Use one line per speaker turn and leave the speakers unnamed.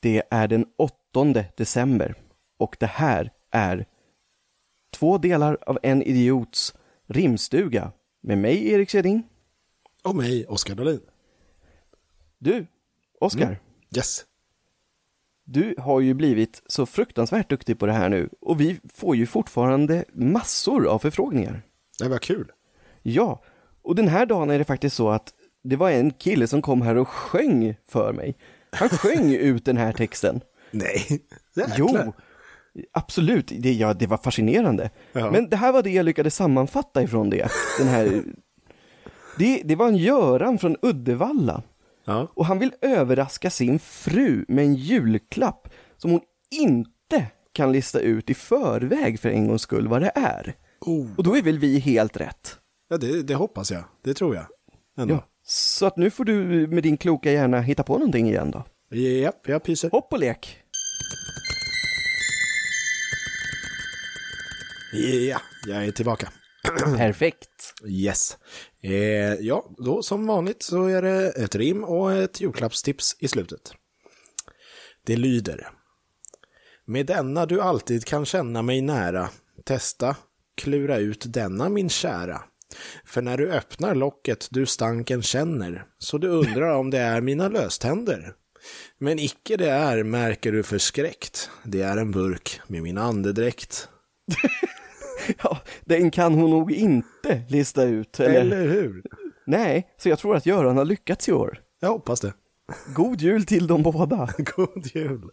Det är den 8 december och det här är två delar av en idiots rimstuga med mig, Erik Sedin.
Och mig, Oskar Dahlin.
Du, Oskar,
Yes.
du har ju blivit så fruktansvärt duktig på det här nu och vi får ju fortfarande massor av förfrågningar.
Det var kul.
Ja, och den här dagen är det faktiskt så att det var en kille som kom här och sjöng för mig. Han sjöng ut den här texten.
Nej.
Jo, absolut. Det, ja, det var fascinerande.
Ja.
Men det här var det jag lyckades sammanfatta ifrån det. Den här, det, det var en Göran från Uddevalla
Ja.
och han vill överraska sin fru med en julklapp som hon inte kan lista ut i förväg för en gångs skull vad det är.
Oh.
Och då är väl vi helt rätt?
Ja, det, det hoppas jag. Det tror jag. Ändå.
Ja. Så att nu får du med din kloka hjärna hitta på någonting igen då.
Japp, jag pyser.
Hopp och lek!
Ja, jag är tillbaka.
Perfekt!
Yes. Eh, ja, då som vanligt så är det ett rim och ett julklappstips i slutet. Det lyder. Med denna du alltid kan känna mig nära. Testa, klura ut denna min kära. För när du öppnar locket du stanken känner, så du undrar om det är mina löständer. Men icke det är, märker du förskräckt. Det är en burk med min andedräkt.
Ja, den kan hon nog inte lista ut. Eller?
Eller hur?
Nej, så jag tror att Göran har lyckats i år.
Jag hoppas det.
God jul till dem båda!
God jul!